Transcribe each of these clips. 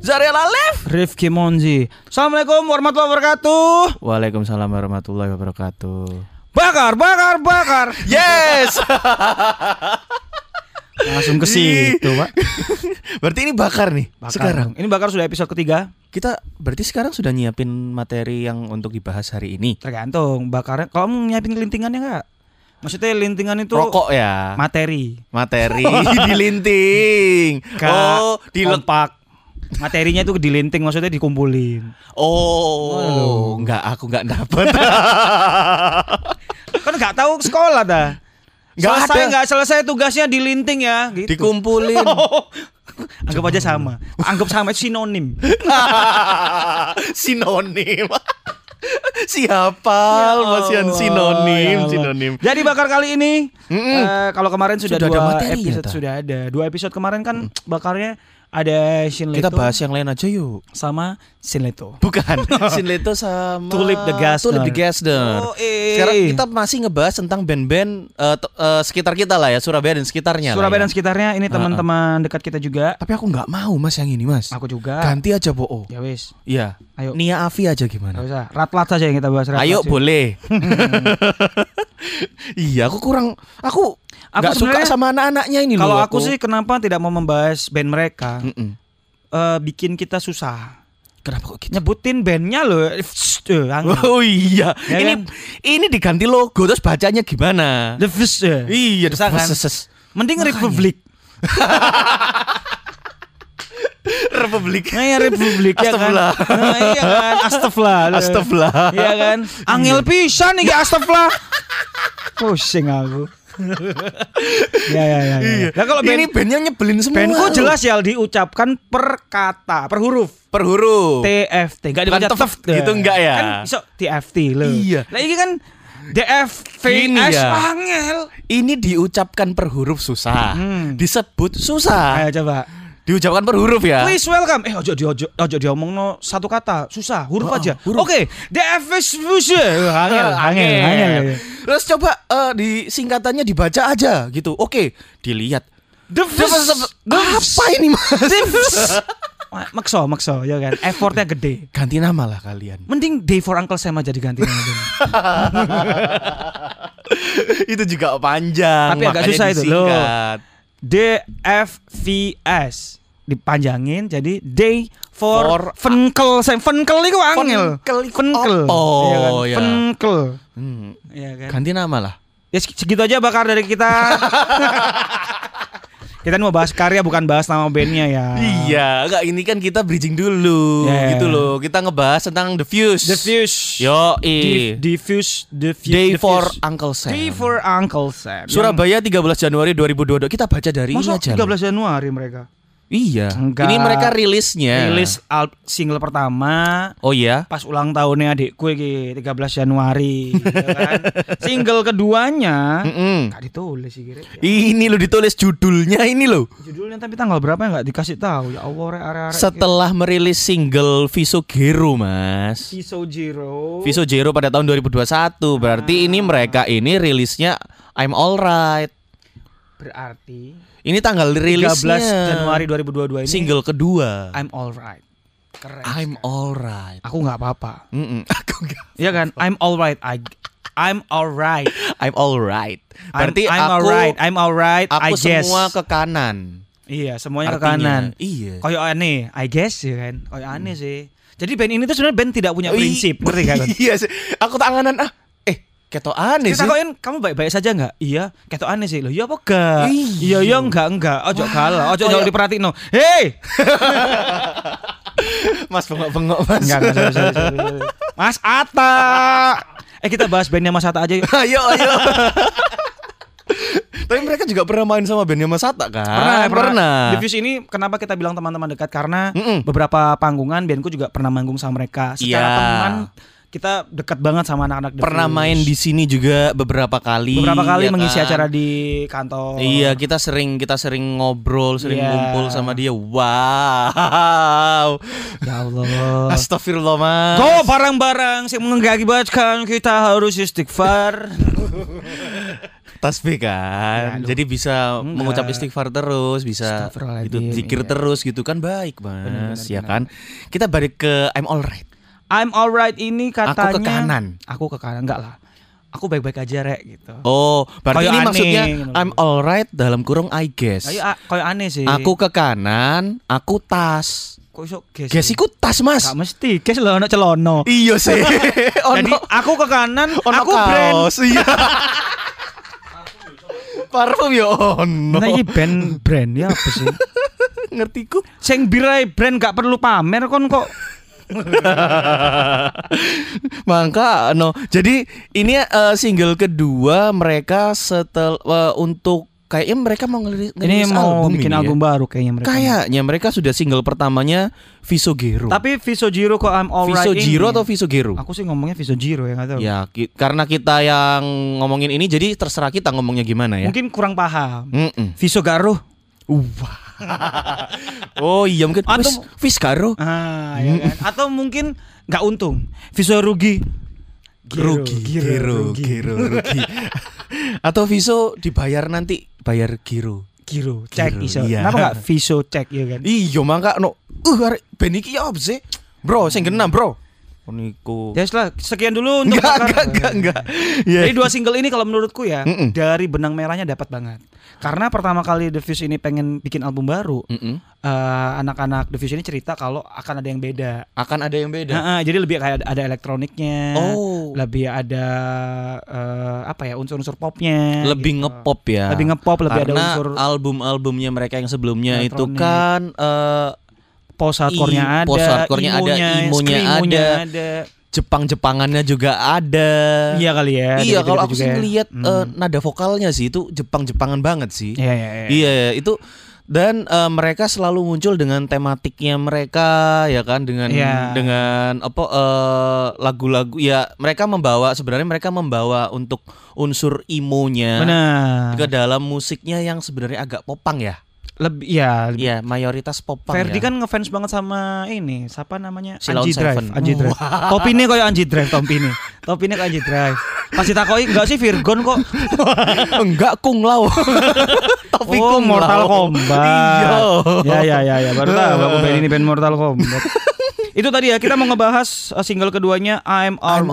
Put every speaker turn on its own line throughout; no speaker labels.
Mozzarella Live.
Rifki Monzi. Assalamualaikum warahmatullahi wabarakatuh.
Waalaikumsalam warahmatullahi wabarakatuh.
Bakar, bakar, bakar.
Yes.
Langsung ke situ, Pak.
berarti ini bakar nih
Bakar.
Iya, sekarang.
Ini bakar sudah episode ketiga.
Kita berarti sekarang sudah nyiapin materi yang untuk dibahas hari ini.
Tergantung bakarnya. Kalau kamu nyiapin kelintingannya enggak? Maksudnya lintingan itu
Rokok ya.
materi.
materi dilinting.
Kak,
oh, dilek.
kompak. Materinya itu dilinting maksudnya dikumpulin.
Oh,
Waduh.
enggak aku enggak dapat.
Kan nggak tahu sekolah dah.
Nggak
selesai
ada.
nggak selesai tugasnya dilinting ya gitu.
Dikumpulin.
Anggap aja sama. Anggap sama itu sinonim.
sinonim. Siapa Masian
Allah, ya
sinonim,
Allah.
sinonim.
Jadi bakar kali ini
Mm-mm.
eh, kalau kemarin sudah,
Sudah ada
dua
materi ya,
episode
Ta?
sudah ada. Dua episode kemarin kan
Mm.
bakarnya ada Shin Leto
Kita bahas yang lain aja yuk.
sama Shin Leto.
Bukan, Sinleto sama
Tulip the Gasner.
Tulip the Gasner.
Oh, eh.
Sekarang kita masih ngebahas tentang band-band eh, t- eh, sekitar kita lah ya, Surabaya dan sekitarnya. lah
Surabaya
ya.
dan sekitarnya ini teman-teman dekat kita juga.
Tapi aku nggak mau mas yang ini mas.
Aku juga.
Ganti aja Bo'o.
Ya wis.
Iya.
Ayo.
Nia Afi aja
Gak
gimana?
usah. Ratlat saja yang kita bahas. Ratlat
Ayo
sih.
boleh. iya, aku kurang aku
Aku
nggak suka
sebenarnya-
sama anak-anaknya ini
Kalau
loh.
aku sih kenapa tidak mau membahas band mereka?
Mm-mm.
Eh, bikin kita susah.
Kenapa kok gitu?
Nyebutin bandnya loh. Eh, fst, eh, angin.
Oh iya,
Ya
ini
kan?
ini diganti logo terus bacanya gimana?
The fst, eh.
Iya,
Susah kan?
ses-
Mending
Makanya.
Republik.
Republik.
Nah, ya Republik ya kan.
Astagfirullah.
Nah, iya kan. Astagfirullah.
Astagfirullah.
Iya kan. Angel pisan iki astagfirullah. Pusing aku. ya ya ya. ya. Lah kalau
Iya. ini
band
bandnya nyebelin semua.
bandku
loh.
jelas ya diucapkan per kata, per huruf.
per huruf.
TFT enggak dibaca
Bukan tef,
tef,
gitu enggak ya?
Kan bisa TFT loh.
Iya.
Lah ini kan
Gini
DFVS
ya.
angel.
Ini diucapkan per huruf susah.
Hmm. Eh.
Disebut susah.
Ayo coba.
Diucapkan per huruf ya.
Please welcome. Eh ojo di ojo ojo diomong no satu kata susah huruf
Oh,
aja.
huruf.
Oke, DFVS Eh, angel angel angel.
Iya, Terus coba eh, di singkatannya dibaca aja gitu. Oke, dilihat.
The
Terus- Apa ini mas?
Makso makso ya kan. Effortnya gede.
Ganti nama lah kalian.
Mending day for Uncle Sam aja diganti namanya.
itu juga panjang.
Tapi agak
makanya
susah itu, loh.
disingkat.
DFVS dipanjangin jadi day for,
For-
Funkel Sam. Funkel itu angel.
Funkel itu apa?
Iya kan?
Ya.
Funkel.
Hmm,
Iya kan?
ganti nama lah.
Ya seg- segitu aja bakar dari kita. kita ini mau bahas karya bukan bahas nama bandnya ya.
Iya, enggak ini kan kita bridging dulu
Yeah.
gitu loh. Kita ngebahas tentang The
Iya,
Fuse.
The Fuse.
Yo,
Di- Diffuse, the Fuse.
Day
The
for
Fuse.
Uncle Sam.
Day for Uncle Sam.
Surabaya 13 Januari 2022. Kita baca dari
Masa
ini aja. loh.
13 Januari mereka.
Iya.
Enggak.
Ini mereka rilisnya.
Rilis al- single pertama
Oh iya.
pas ulang tahunnya adikku iki 13 Januari ya kan? Single keduanya
Mm-mm.
nggak ditulis sih kira
Ini lo ditulis judulnya ini loh.
Judulnya tapi tanggal berapa nggak dikasih tahu. Ya Allah rek arek-arek.
Setelah merilis single Viso Gero, Mas.
Viso Jiro.
Viso Gero pada tahun 2021. Berarti
Ah.
ini mereka ini rilisnya I'm Alright.
berarti
Ini tanggal
13
rilisnya.
Januari 2022 ini
single kedua.
I'm alright. Keren.
I'm alright.
Aku nggak apa-apa.
Mm-mm, Aku enggak.
Iya kan? I'm alright. I I'm alright.
I'm alright.
I'm-
Berarti
I'm
aku
alright. I'm alright. I
aku
guess.
semua ke kanan.
Iya, semuanya ke
Artinya,
kanan.
Iya.
Kayak aneh, I guess ya kan. Kayak aneh sih. Jadi band ini tuh sebenarnya band tidak punya prinsip,
Ih,
ngerti kan?
Iya sih. Aku tak angan ah. Eh, ketok aneh
Kita
sih.
koin kamu baik-baik saja nggak? Iya, ketok aneh sih. Loh, iya apa enggak? Iya, iya enggak, enggak. Ojo galau, ojo jauh
kayak-
diperhatiin. "Oh, Hei!
Mas bengok-bengok, Mas.
Enggak, enggak, sorry, sorry, sorry, sorry. Mas Ata. Eh kita bahas bandnya Mas Ata aja yuk.
ayo, ayo. Tapi mereka juga pernah main sama bandnya Mas Atta kan?
Diffuse ini kenapa kita bilang teman-teman dekat karena
Mm-mm.
beberapa panggungan bandku juga pernah manggung sama mereka. Secara
Iya.
teman kita dekat banget sama anak-anak The
Pernah
Fuse.
main di sini juga beberapa kali.
beberapa kali
ya
mengisi
kan?
acara di kantor.
Iya, kita sering kita sering ngobrol, sering
Iya.
ngumpul sama dia. Wow.
Ya Allah.
Astagfirullah, Mas.
Kau barang-barang yang mengakibatkan kita harus istighfar.
tasbih kan.
Ya, aduh.
Jadi bisa
Enggak.
mengucap istighfar terus, bisa
Astagfirullahaladzim,
itu zikir
iya.
terus gitu kan baik, Mas.
Benar, benar,
ya
benar.
kan? Kita balik ke I'm alright.
I'm alright ini katanya.
Aku ke kanan.
Aku ke kanan enggak lah. Aku baik-baik aja rek gitu.
Oh, berarti
Kayak
ini
aneh,
maksudnya
gitu.
I'm alright dalam kurung I guess.
Ayo a- kayak aneh sih.
Aku ke kanan, aku tas.
kok iso guess. Iya sih?
Guessiku tas, Mas.
Gak mesti, guess lho ono celono.
Iya sih.
Jadi aku ke kanan,
ono
aku brand.
Iya. Parfum ya ono.
Nah, ini band brand ya apa sih?
ngerti ku.
Sing birai brand gak perlu pamer kon kok.
Maka no. Jadi ini eh, single kedua mereka setel eh, untuk kayaknya mereka mau ngelirik
Ini mau bikin album
album ya.
baru kayaknya mereka.
Kayaknya mereka sudah single pertamanya Visogero.
Tapi Viso Jiro kok I'm alright
Visogiro
ini.
atau Visogero?
Aku sih ngomongnya Viso Jiro ya nggak tahu.
Ya, ki- karena kita yang ngomongin ini jadi terserah kita ngomongnya gimana ya.
Mungkin kurang paham.
Mm-mm. Uh.
Viso Garuh.
Oh iya mungkin
Atau-
Wis- Visgaro
Ah, ya kan? Atau mungkin nggak untung. Viso rugi. Giro,
rugi,
giro,
giro,
rugi.
giro, rugi. Atau Viso dibayar nanti bayar giro.
Giro, cek
Giro,
iso.
iya.
Kenapa nggak Viso cek ya kan?
Iya mangka no. Uh arek ben iki ya apa sih? Bro, sing genah, Bro. Niku.
Ya setelah sekian dulu untuk
Enggak,
Pakar.
enggak, enggak, enggak. Iya.
Jadi dua single ini kalau menurutku ya
Mm-mm.
dari benang merahnya dapat banget. Karena pertama kali The Fuse ini pengen bikin album baru, eh,
Mm-mm.
anak-anak The Fuse ini cerita kalau akan ada yang beda.
Akan ada yang beda.
Heeh, jadi lebih kayak ada, ada elektroniknya,
Oh.
lebih ada eh, apa ya unsur-unsur popnya,
Lebih
gitu.
ngepop ya.
lebih ngepop, lebih ada
Karena
unsur
album-albumnya mereka yang sebelumnya itu
Elektronik.
kan eh,
post hardcore-nya
i-
ada,
post hardcore-nya ada,
emo-nya,
emo-nya
screamo-nya
ada. Jepang-Jepangannya juga ada.
Iya kali ya.
Iya,
beda-beda
kalau
juga
aku sih
ya.
ngeliat
Hmm.
eh, nada vokalnya sih itu Jepang-Jepangan banget sih.
Iya, iya, iya.
Iya, iya, itu dan eh, mereka selalu muncul dengan tematiknya mereka ya kan dengan
Iya.
dengan apa eh, lagu-lagu ya mereka membawa sebenarnya mereka membawa untuk unsur imonya
Benar.
ke dalam musiknya yang sebenarnya agak popang ya.
Lebih ya, lebih-
Iya, mayoritas popang
Ferdi
ya.
kan ngefans banget sama ini, siapa namanya?
Si Lawn
Anji Drive,
Seven.
Anji Drive. Topine kayak Anji Drive, topine. Topine kayak Anji Drive. Pas ditakoi enggak sih Virgon kok.
enggak kung lao. Tapi
oh,
kung
Mortal
lao.
Kombat.
Iya.
Ya ya ya ya, baru tahu aku band ini band Mortal Kombat. Itu tadi ya kita mau ngebahas uh, single keduanya I'm
I'm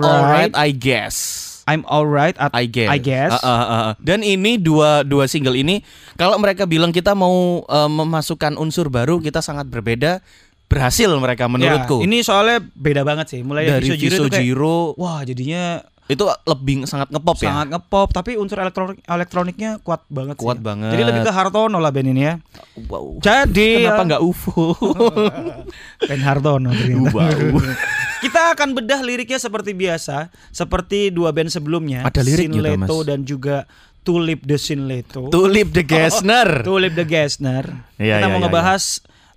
Alright.
alright I guess.
I'm Alright at
I guess.
I guess.
Ah, ah, ah, ah. Dan ini dua dua single ini kalau mereka bilang kita mau eh, memasukkan unsur baru kita sangat berbeda berhasil mereka menurutku.
Ya, ini soalnya beda banget sih. Mulai
dari
Viso Jiro
Viso
itu kayak,
Jiro
wah jadinya
itu lebih sangat ngepop
sangat
ya.
ngepop tapi unsur elektronik elektroniknya kuat banget sih.
Kuat banget.
Jadi lebih ke Hartono lah band ini ya.
Wow.
Jadi eh,
Kenapa nggak UFO?
Ben Hartono ternyata.
wow.
Kita akan bedah liriknya seperti biasa, seperti dua band sebelumnya,
Ada lirik juga,
Sinleto
Mas.
dan juga Tulip the Sinleto.
Tulip the Gesner.
Tulip the Gesner.
Iya,
Kita
iya,
mau
iya,
ngebahas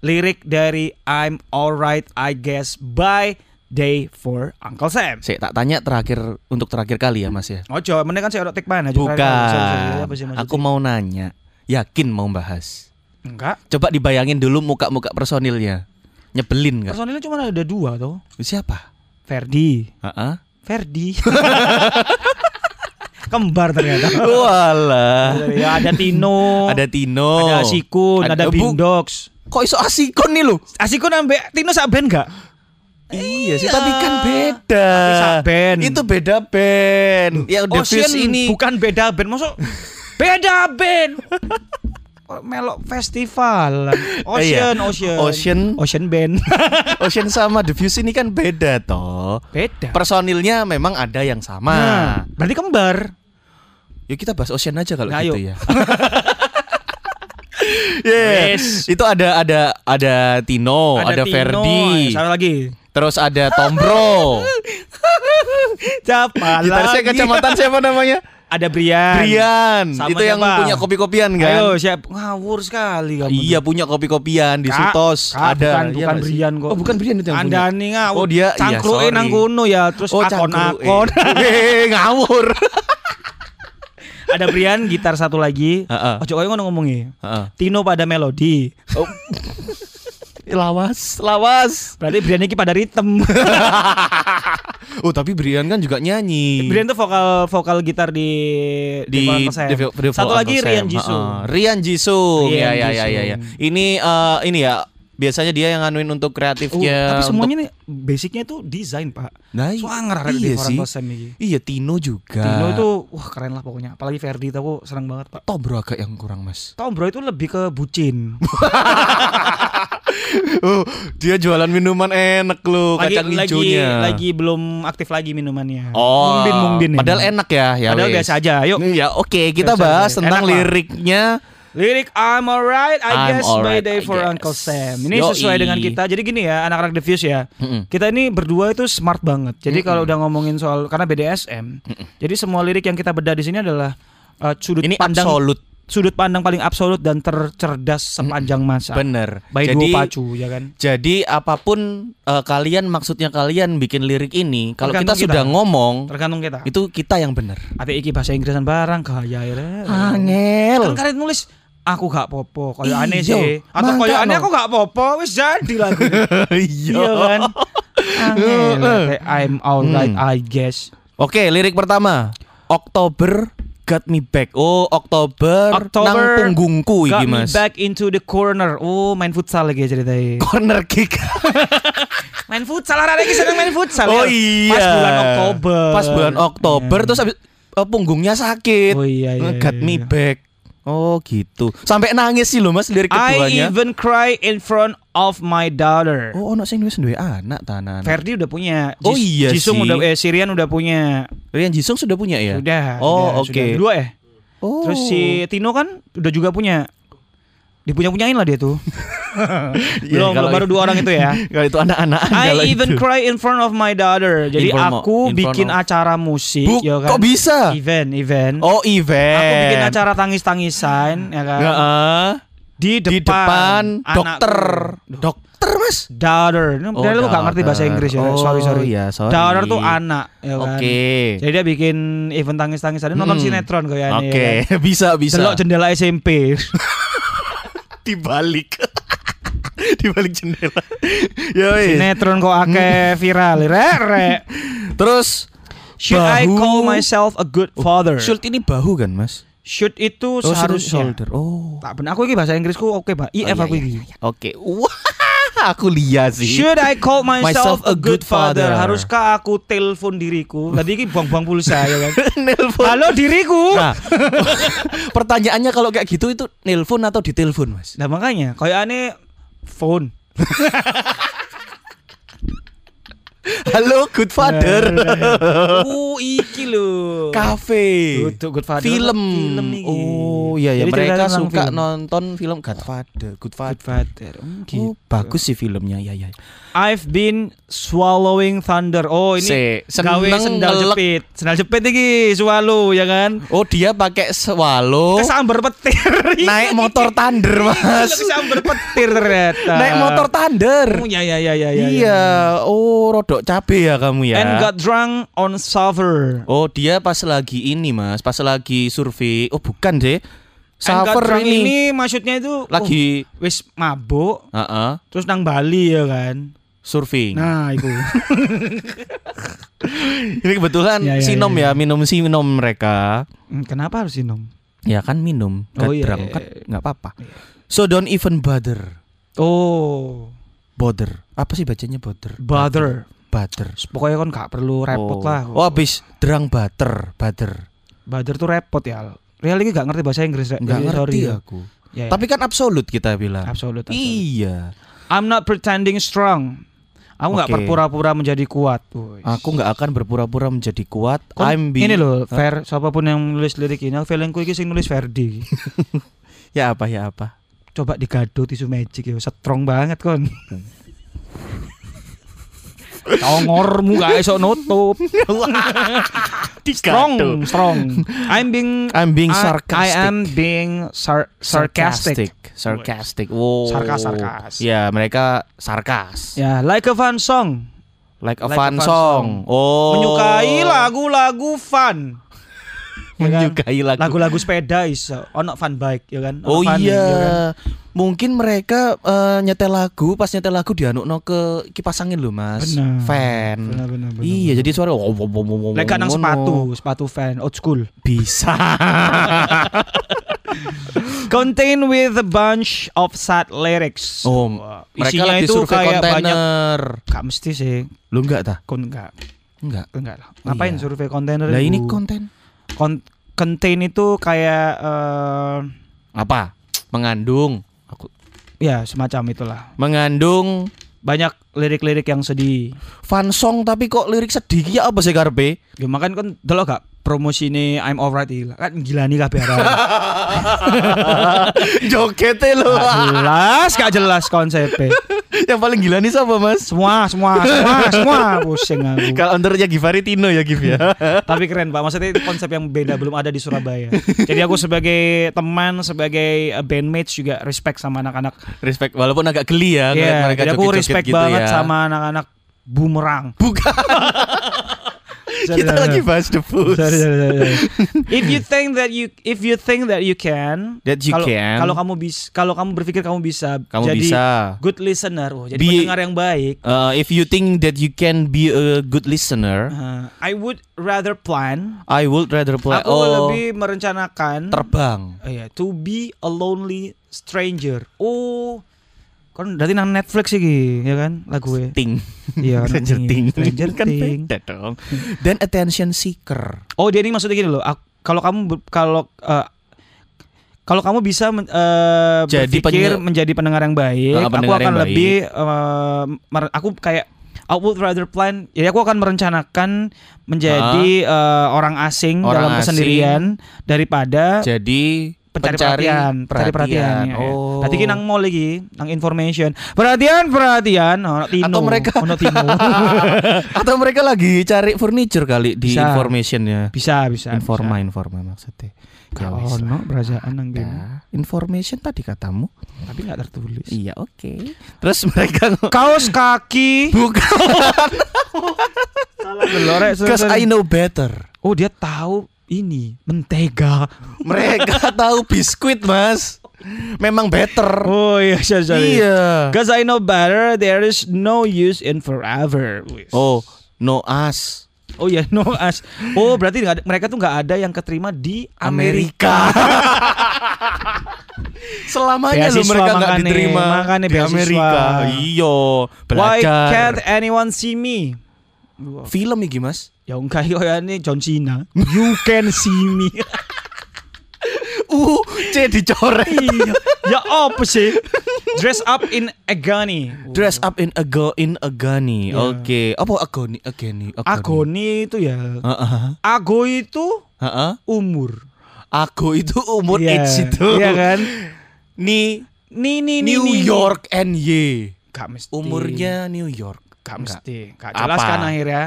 lirik dari I'm Alright I Guess by Day for Uncle Sam.
Saya tak tanya terakhir untuk terakhir kali ya Mas ya.
Ojo, mending kan saya otak mana
Bukan.
Sorry, sorry, apa sih maksudnya?
Aku mau nanya. Yakin mau bahas?
enggak.
Coba dibayangin dulu muka-muka personilnya. Nyebelin nggak?
Personilnya cuma ada dua tuh.
Siapa?
Ferdi,
Heeh.
Ferdi. Kembar ternyata.
Walah.
ya ada Tino,
Ada Tino.
ada Asikun, ada,
Bu,
Bindox.
Kok iso Asikun nih lu?
Asikun ambe Tino sak band gak?
Iya sih, tapi kan beda.
Tapi sak band.
Itu beda band. Ya The Fuse ini.
bukan beda band, maksud beda band. Kok melok festival. Ocean,
Iya.
Ocean.
Ocean.
Ocean band.
Ocean sama The Fuse ini kan beda toh.
beda.
Personilnya memang ada yang sama.
Nah, berarti kembar.
Yuk kita bahas Ocean aja kalau
Nah,
gitu
yuk.
ya. Yeah.
Wes.
Itu ada ada ada Tino, Oh, ada,
Tino, eh,
Ferdi,
Satu lagi.
terus ada Tombro.
Siapa
Gitarisnya
lagi?
kecamatan siapa namanya?
Ada Brian.
Brian.
Sama
Itu yang
siapa?
punya kopi-kopian kan?
Ayo siap ngawur sekali kamu.
Iya punya kopi-kopian di
Kak,
Sutos
Kak,
ada.
bukan-
Iya
bukan
nggak sih?
Brian kok.
Oh bukan Brian itu yang
Anda
punya.
nih ngawur.
Oh, dia- iya,
cangkruke
sorry.
nang kono ya, terus
oh
akon-akon.
cangkruk, eh. Eh, ngawur.
Ada Brian gitar satu lagi.
Heeh.
Ojo koyo ngono ngomongi.
Heeh.
Tino pada melodi.
Oh. lawas, lawas.
Berarti Brian iki pada ritem.
Oh tapi Brian kan juga nyanyi.
Brian tuh vokal vokal gitar di
di
Devil Uncle Sam.
Devil- Devil
Satu lagi
Uncle
Rian
Sam,
Jisoo.
ha-ha. Rian Jisoo.
Rian
Ya ya ya
Jisoo.
ya ya. Ini eh, ini ya biasanya dia yang nganuin untuk
Oh,
kreatifnya.
tapi
untuk-
semuanya nih basicnya itu desain pak.
Nah, i-
Suanger ada di
iya
Devil
sih.
Uncle Sam ini.
Iya Tino juga.
Dino itu wah keren lah pokoknya. Apalagi Ferdi tuh aku seneng banget pak.
Tom bro agak yang kurang mas.
Tom Bro itu lebih ke bucin.
Oh, dia jualan minuman enak loh
lagi
kacang
lagi
hijaunya.
lagi belum aktif lagi minumannya.
Oh,
Mumbin mumbin.
padahal enak ya, ya
Padahal
wis.
biasa aja. Yuk.
Ya oke, kita
Biasa
bahas
aja.
tentang
Enak lah.
liriknya.
Lirik I'm alright, I
I'm
guess my
alright,
day
I
for
guess.
Uncle Sam. Ini
Yoi.
sesuai dengan kita. Jadi gini ya, anak-anak The Fuse ya.
Mm-mm.
Kita ini berdua itu smart banget. Jadi kalau udah ngomongin soal karena BDSM, jadi semua lirik yang kita bedah di sini adalah uh, sudut
Ini
pandang
absolut
sudut pandang paling absolut dan tercerdas sepanjang masa.
bener.
By Duo
Jadi
Pacu ya kan.
jadi apapun eh, kalian maksudnya kalian bikin lirik ini, kalau kita,
Tergantung kita.
sudah ngomong
Tergantung kita.
itu kita yang bener.
Ate iki bahasa Inggrisan barang kaya ya. Kan
Angel.
kalian nulis aku gak popo, koyo aneh
Iya,
sih. Atau
mangkano.
koyo aneh aku gak popo, wis jadi lagu.
Iya.
Iya kan? Angel,
Heeh.
kayak I'm
Hmm.
alright I guess.
Oke, lirik pertama. Oktober got me back. Oh, Oktober, nang
Oktober
punggungku
Got
iki,
me
Mas.
back into the corner. Oh, main futsal lagi ceritanya.
Corner kick.
Main futsal, ada lagi seneng main futsal.
Oh
ya.
iya.
Pas bulan Oktober.
Pas bulan Oktober
Iya.
terus habis eh, punggungnya sakit.
Oh iya iya.
Got
iya,
me
iya.
back. Oh gitu. Sampai nangis sih lo Mas lirik
I
keduanya.
even cry in front of my daughter.
Oh, ono sing wis duwe anak tanan.
Ferdi udah punya.
Oh iya
Jisung
sih.
udah eh Sirian udah punya.
Rian Oh, Jisung sudah punya ya?
Udah.
Oh,
udah,
oke.
sudah. Dua ya.
Oh.
Terus si Tino kan udah juga punya. Dipunya-punyain lah dia tuh.
Iya,
belum,
kalau-
baru dua orang itu ya.
Kalau itu anak-anak
I
kalau
even
itu.
cry in front of my daughter. Jadi
In front of-
aku
in front
bikin
of-
acara musik,
Buk,
ya kan?
kok bisa?
Event, event.
Oh, event.
Aku bikin acara tangis-tangisan, ya kan?
Heeh.
Di depan, Iya,
eh. Di depan
anakku.
dokter. Dokter, Mas.
Daughter, ini
Oh,
padahal lu gak
daughter.
ngerti bahasa Inggris ya.
Oh,
sorry sorry.
iya, sorry.
Daughter tuh anak, ya kan?
Oke.
Jadi dia bikin event tangis-tangisan, nonton
Hmm.
sinetron kayaknya. ya
Oke,
kan?
bisa bisa.
Delok jendela SMP.
dibalik. dibalik jendela. ya wis.
sinetron kok akeh viral, rek rek.
Terus
Should I
Bahu. Oh.
call myself a good father?
Should ini bahu kan, Mas?
Should itu
Oh, should
seharusnya.
shoulder. Oh.
Tak benar aku ini bahasa Inggrisku oke, Pak. IF
iya,
aku
iya,
ini.
Oke. Wah, aku lihat sih.
Should I call myself
Myself
a
a
good
good father?
father? Haruskah aku telepon diriku? Tadi ini buang-buang pulsa ya kan.
Nelpon.
Halo diriku. Nah,
Nah, pertanyaannya kalau kayak gitu itu nelpon atau ditelepon, Mas?
Nah. makanya kayak aneh phone.
Halo, good father.
Oh, iki lho.
Cafe.
Good, good father.
Film.
Film iki.
Oh, iya ya
Jadi
mereka
ceritanya tentang
suka
film.
nonton film Godfather, Good
Good
Father.
father. Oh,
Oh,
gitu.
bagus sih filmnya. Ya ya.
I've been swallowing thunder. Oh, ini
Se-
gawe
seneng
sendal
ngelek.
jepit. Sendal jepit iki swallow ya kan.
Oh, dia pakai swallow.
Kesambar petir.
Oh. Naik motor Thunder,
Iya,
Mas.
Kesambar petir ternyata.
Naik motor Thunder.
Iya. Oh, ya ya ya ya ya. ya.
Iya, oh rodok cabe ya kamu ya.
And got drunk on Saver.
Oh, dia pas lagi ini, Mas. Pas lagi survei. Oh, bukan deh.
And got
Saver
drunk
ini,
ini maksudnya itu
lagi
oh, wis mabuk
heeh,
terus nang Bali ya kan.
survei.
Nah, itu.
ini kebetulan
Ya, ya,
sinom
ya,
ya, minum sinom mereka.
Hmm, Kenapa harus minum?
Ya kan minum,
Oh, iya,
gadrang
iya,
kan
iya.
nggak apa-apa. So don't even bother.
Oh,
Bother. Apa sih bacanya bother?
bother.
Bother.
Pokoknya kan gak perlu repot
oh.
lah.
Oh, habis derang butter, butter.
Bother tuh repot ya. Real ini gak ngerti bahasa Inggris. Rek.
Nggak
Jadi
ngerti
Iya, sorry.
aku.
Ya, ya.
Tapi kan absolut kita bilang.
absolut. absolut.
Iya.
I'm not pretending strong. Aku nggak
Oke.
berpura-pura menjadi kuat. Wih.
Aku nggak akan berpura-pura menjadi kuat.
Kon-
I'm be- Ah.
ini loh, Fer, siapapun yang nulis lirik ini, aku feelingku ini sing nulis Ferdi.
Ya apa ya apa.
Coba digado tisu magic ya, strong banget kon. Tongormu gak iso nutup. strong, strong. I'm being
I'm being
I- I
sarcastic.
am being sar- sarcastic.
Sarcastic. Wow.
Sarkas, sarkas.
Ya, mereka sarkas.
Ya, like a fun song.
Like a
Like
fun song. Oh.
Menyukai lagu-lagu fun. Ya kan?
Menyukai lagu.
Lagu-lagu sepeda iso, ono fun bike ya kan. Ono
Oh
funny,
iya.
ya kan?
mungkin mereka eh, nyetel lagu pas nyetel lagu dianukno ke kipas angin loh mas
Benar.
fan
Benar, benar, benar,
iya ya jadi suara wow, wow, wow, wow, wow,
Lek nang
ngono.
sepatu, sepatu fan old school.
bisa
Contain with a bunch of sad lyrics.
oh mereka
Isinya
lagi
itu
survei
kayak banyak
kontainer
Gak mesti sih,
lu enggak tah
kon enggak,
enggak
enggak lah. Ngapain
Iya.
survei kontainer?
lah ini
Bu?
konten
Kon- contain itu kayak eh,
apa mengandung aku
ya semacam itulah.
mengandung
Banyak lirik-lirik yang sedih.
fansong tapi kok lirik sedih ya apa sih karpe
Ya makan kan delok gak promosi ini I'm alright iki. kan gila nih kabeh arah.
jokete lo
Gak jelas, gak jelas konsepnya.
yang paling gila nih siapa mas
Semua, semua, semua, semua pusing aku.
kalau undernya Givari Tino ya Giv ya
Tapi keren Pak, maksudnya itu konsep yang beda belum ada di Surabaya. Jadi aku sebagai teman, sebagai eh, bandmates juga respect sama anak-anak.
respect walaupun agak geli ya ngeliat
Iya,
mereka
jadi aku
joget-joget
respect
gitu
banget
ya.
sama anak-anak bumerang.
bukan kita lagi bahas The Foods
Sorry, sorry, sorry, sorry. If you think that you if you think that you can,
That you
kalau
can.
kalau kamu bisa kalau kamu berpikir kamu bisa
kamu
jadi
bisa
good listener, wah, jadi
Be-
pendengar yang baik.
Uh, if you think that you can be a good listener
Uh, I would rather plan.
I would rather play
Aku
oh
lebih merencanakan.
terbang
Oh, iya, to be a lonely stranger. Oh, kan dari nang Netflix iki, ya kan lagu gue.
ting
Iya, nang
stranger
ini,
ting
Stranger
kan
Thing.
beda dong dan attention seeker
Oh, dia ini maksudnya gini loh. aku- Kalau kamu ber- kalau eh, kalau kamu bisa men- eh,
Jadi
berpikir
penye-
menjadi pendengar yang baik,
Ah, pendengar
aku akan
yang baik.
lebih eh, mer- aku kayak I would rather plan. Jadi aku akan merencanakan menjadi eh, orang asing
Ah. Orang
dalam kesendirian daripada
jadi
Ah. pencari perhatian, pencari perhatian. ya, ya.
oh
Berarti ki nang mall iki, nang information. Perhatian, perhatian, ono Tino.
Atau mereka-
ono Tino.
atau mereka lagi cari furniture kali di
Bisa.
information ya
bisa, bisa.
informa
bisa.
informa maksudnya
Gak
Ya wis
ono
lah.
perasaan nang kene,
Nah, information tadi katamu
tapi gak tertulis.
iya oke terus mereka
Kaos kaki.
bukan
Delorek, sorry,
because
sorry.
I know better
Oh, dia tahu ini mentega.
mereka tahu biskuit mas memang better
Oh iya, sorry, sorry.
iya
Cause I know better, there is no use in forever. Wis.
oh no as
oh iya, no as. Oh berarti nggak ada- mereka tuh nggak ada yang keterima di Amerika.
Amerika selamanya loh
Beasiswa
mereka nggak
makane,
diterima
makane
di
beasiswa.
Amerika iyo
Why can't
belajar
anyone see me?
film iki mas
Ya enggak ya ini John Cena. You can see me.
uh c dicoret
iya. Ya apa sih? Dress up in agony.
Dress up in a go in agani.
Iya.
Oke. Apa agoni? Agani.
Agony itu ya.
Heeh.
Ago itu
Heeh.
umur.
Ago itu umur
Iya,
age itu.
Iya kan?
Ni
Ni ni ni
New
ni, ni.
York NY.
Gak mesti.
Umurnya New York.
gak
Enggak.
mesti. Gak jelas
Apa?
kan akhirnya.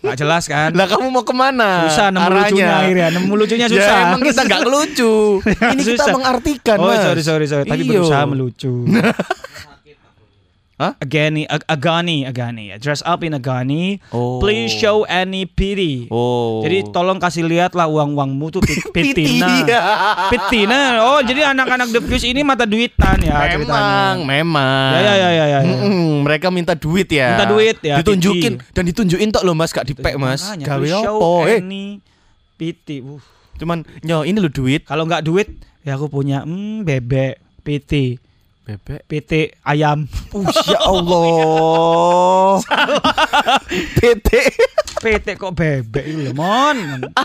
Gak jelas kan?
Lah kamu mau kemana?
Susah nemu lucunya akhirnya. Nemu lucunya
Ya,
susah. Ya,
emang kita nggak lucu. Ini kita
Susah.
mengartikan,
Oh,
Mas. Iya.
sorry sorry sorry, tapi
Iyo.
berusaha melucu.
Hah?
Agani, ag- agani, agani. Dress up in agani.
Oh.
Please show any pity.
Oh.
Jadi Nah. tolong kasih lihat lah uang-uangmu tuh pit- pitina.
Iya.
pitina. Oh, jadi anak-anak The Fuse ini mata duitan ya ceritanya.
memang, memang.
Ya, ya, ya, ya, ya, ya.
Mm-mm, mereka minta duit ya.
Minta duit ya,
Ditunjukin
Titi.
dan ditunjukin tok lo Mas, gak dipek Mas.
Makanya,
Gawe
please show
apa? Eh,
any pity. Uh,
cuman nyo ini lo duit.
Kalau nggak duit, ya aku punya hmm, bebek, piti,
Bebek.
piti ayam,
Uh, ya Allah. Titik
piti kok bebek itu loh, mon.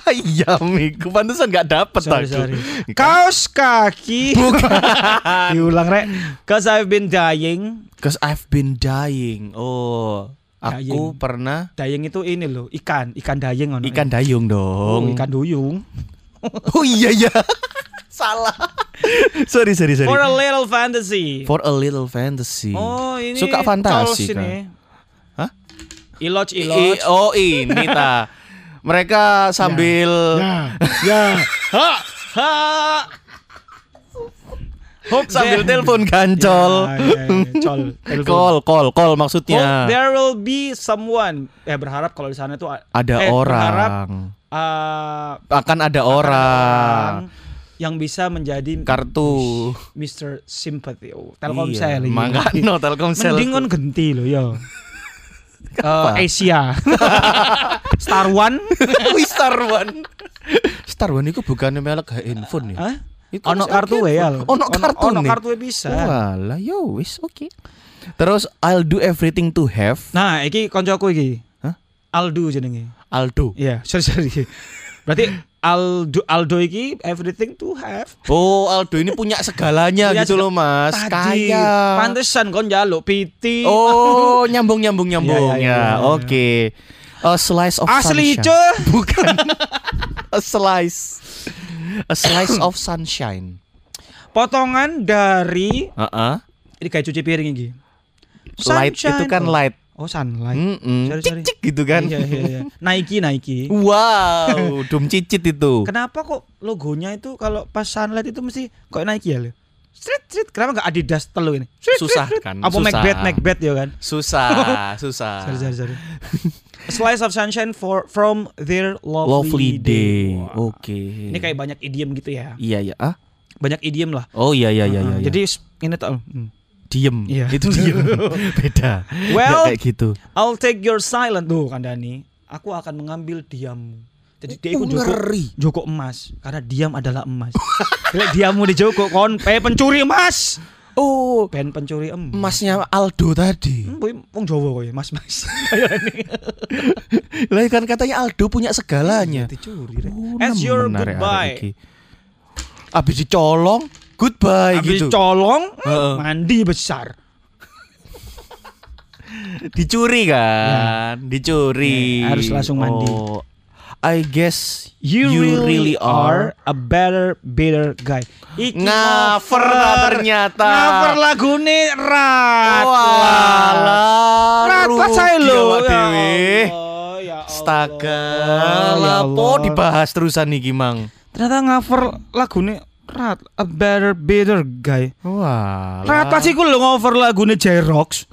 ayam iku Ah, iya, pantesan gak dapet
Sorry,
aku.
sorry.
kan.
Kaos kaki. Diulang rek. Cause I've been dying.
Cause I've been dying. Oh, aku
Dying.
pernah
Dying itu ini loh, ikan, ikan dying ono.
ikan dayung
oh,
dong.
ikan duyung.
Oh iya ya. Salah. sorry, sorry, sorry.
For a little fantasy.
For a little fantasy.
Oh, ini
Suka fantasi
Charles
kan?
ini.
Hah?
Iloj
I,
iloj.
oh ini ta. Mereka sambil
ya. Ha. Ha. Hope
sambil
there-
telepon gancol.
Ya, ya, ya, Col. telepon.
Call, call, call
Hope
maksudnya.
Oh, there will be someone. Eh berharap kalau di sana itu eh,
Ada orang.
Berharap, ah,
Akan ada orang.
yang bisa menjadi
Kartu.
Mr. Sympathy. Oh, Iya. Telkomsel
Iya,
ini. Kan
Makanya Telkomsel.
Mending kon genti loh yo.
Ah.
Eh, Asia. Star One.
Wih, Star One. Star One itu bukannya merek handphone ya?
Hah?
Itu
ah? Ono
merek
kartu
handphone.
ya. lho.
gitu? Ono kartu
Ono
nih.
kartu ya bisa.
Walah, yo wis oke. Terus I'll do everything to have
Nah, iki koncoku iki.
Hah?
Aldo jenenge.
Aldo.
Iya, sorry sorry. Berarti Aldo Aldo iki everything to have.
Oh, Aldo ini punya segalanya
Punya
gitu loh, Mas.
Tadi
Kaya.
pantesan kon njaluk piti.
Oh, nyambung nyambung nyambung.
Iya, iya, iya,
ya,
iya.
oke. A slice of
Asli
sunshine.
cuy.
Bukan. A slice. A slice of sunshine.
Potongan dari
Heeh.
ini kayak cuci piring iki.
Light itu
Sunshine.
kan light.
Oh, sunlight.
Mm-mm.
Sorry, sorry.
Cicik gitu kan.
Iya, iya, iya. Nike Nike.
Uh. Wow, dum cicit itu.
Kenapa kok logonya itu kalau pas sunlight itu mesti kok Nike ya? Lho? Street street kenapa nggak Adidas telu ini? Street,
Susah
street, street.
kan,
Apa
susah. Ah.
Macbeth Macbeth ya kan?
Susah, susah.
Sorry sorry sorry. A Slice of sunshine for from their lovely,
Lovely day.
Wah.
Oke.
Ini kayak banyak idiom gitu ya.
Iya ya. Ah.
Banyak idiom lah.
Oh iya iya iya iya.
Uh,
iya.
Jadi s- ini tuh. hmm.
diem.
Iya.
Itu diem. Beda.
Well-
Nggak kayak gitu.
I'll take your silence tuh Kandani. Aku akan mengambil diammu. Jadi dia itu
Oh,
joko,
ngeri.
joko emas karena diam adalah emas. Lek diammu di joko kon pe pencuri emas.
Oh,
Ben pencuri emas.
masnya Aldo tadi.
Hmm, kuwi wong Jawa kowe, Mas Mas.
Lah kan katanya Aldo punya
Iya,
segalanya.
Dicuri rek.
Oh,
As
nemen
your
arek-arek iki.
goodbye.
Abis dicolong, goodbye
Habis
gitu.
colong hmm,
Heeh.
mandi besar.
Dicuri kan? Dicuri.
Ya, harus langsung mandi.
Oh, I guess you, really, are
a better better guy. Iki
Ngaver lah ternyata.
Ngaver lagune rat. Rat
Walah,
lah saya
rugi
lho.
awak
Ya
dhewe.
Allah, ya Allah.
Astaga,
Ya
lapo
Allah.
dibahas terusan nih Gimang.
Ternyata ngaver lagune rat a better better guy.
Wah.
Rat pasti ku lho ngover lagune Jerox.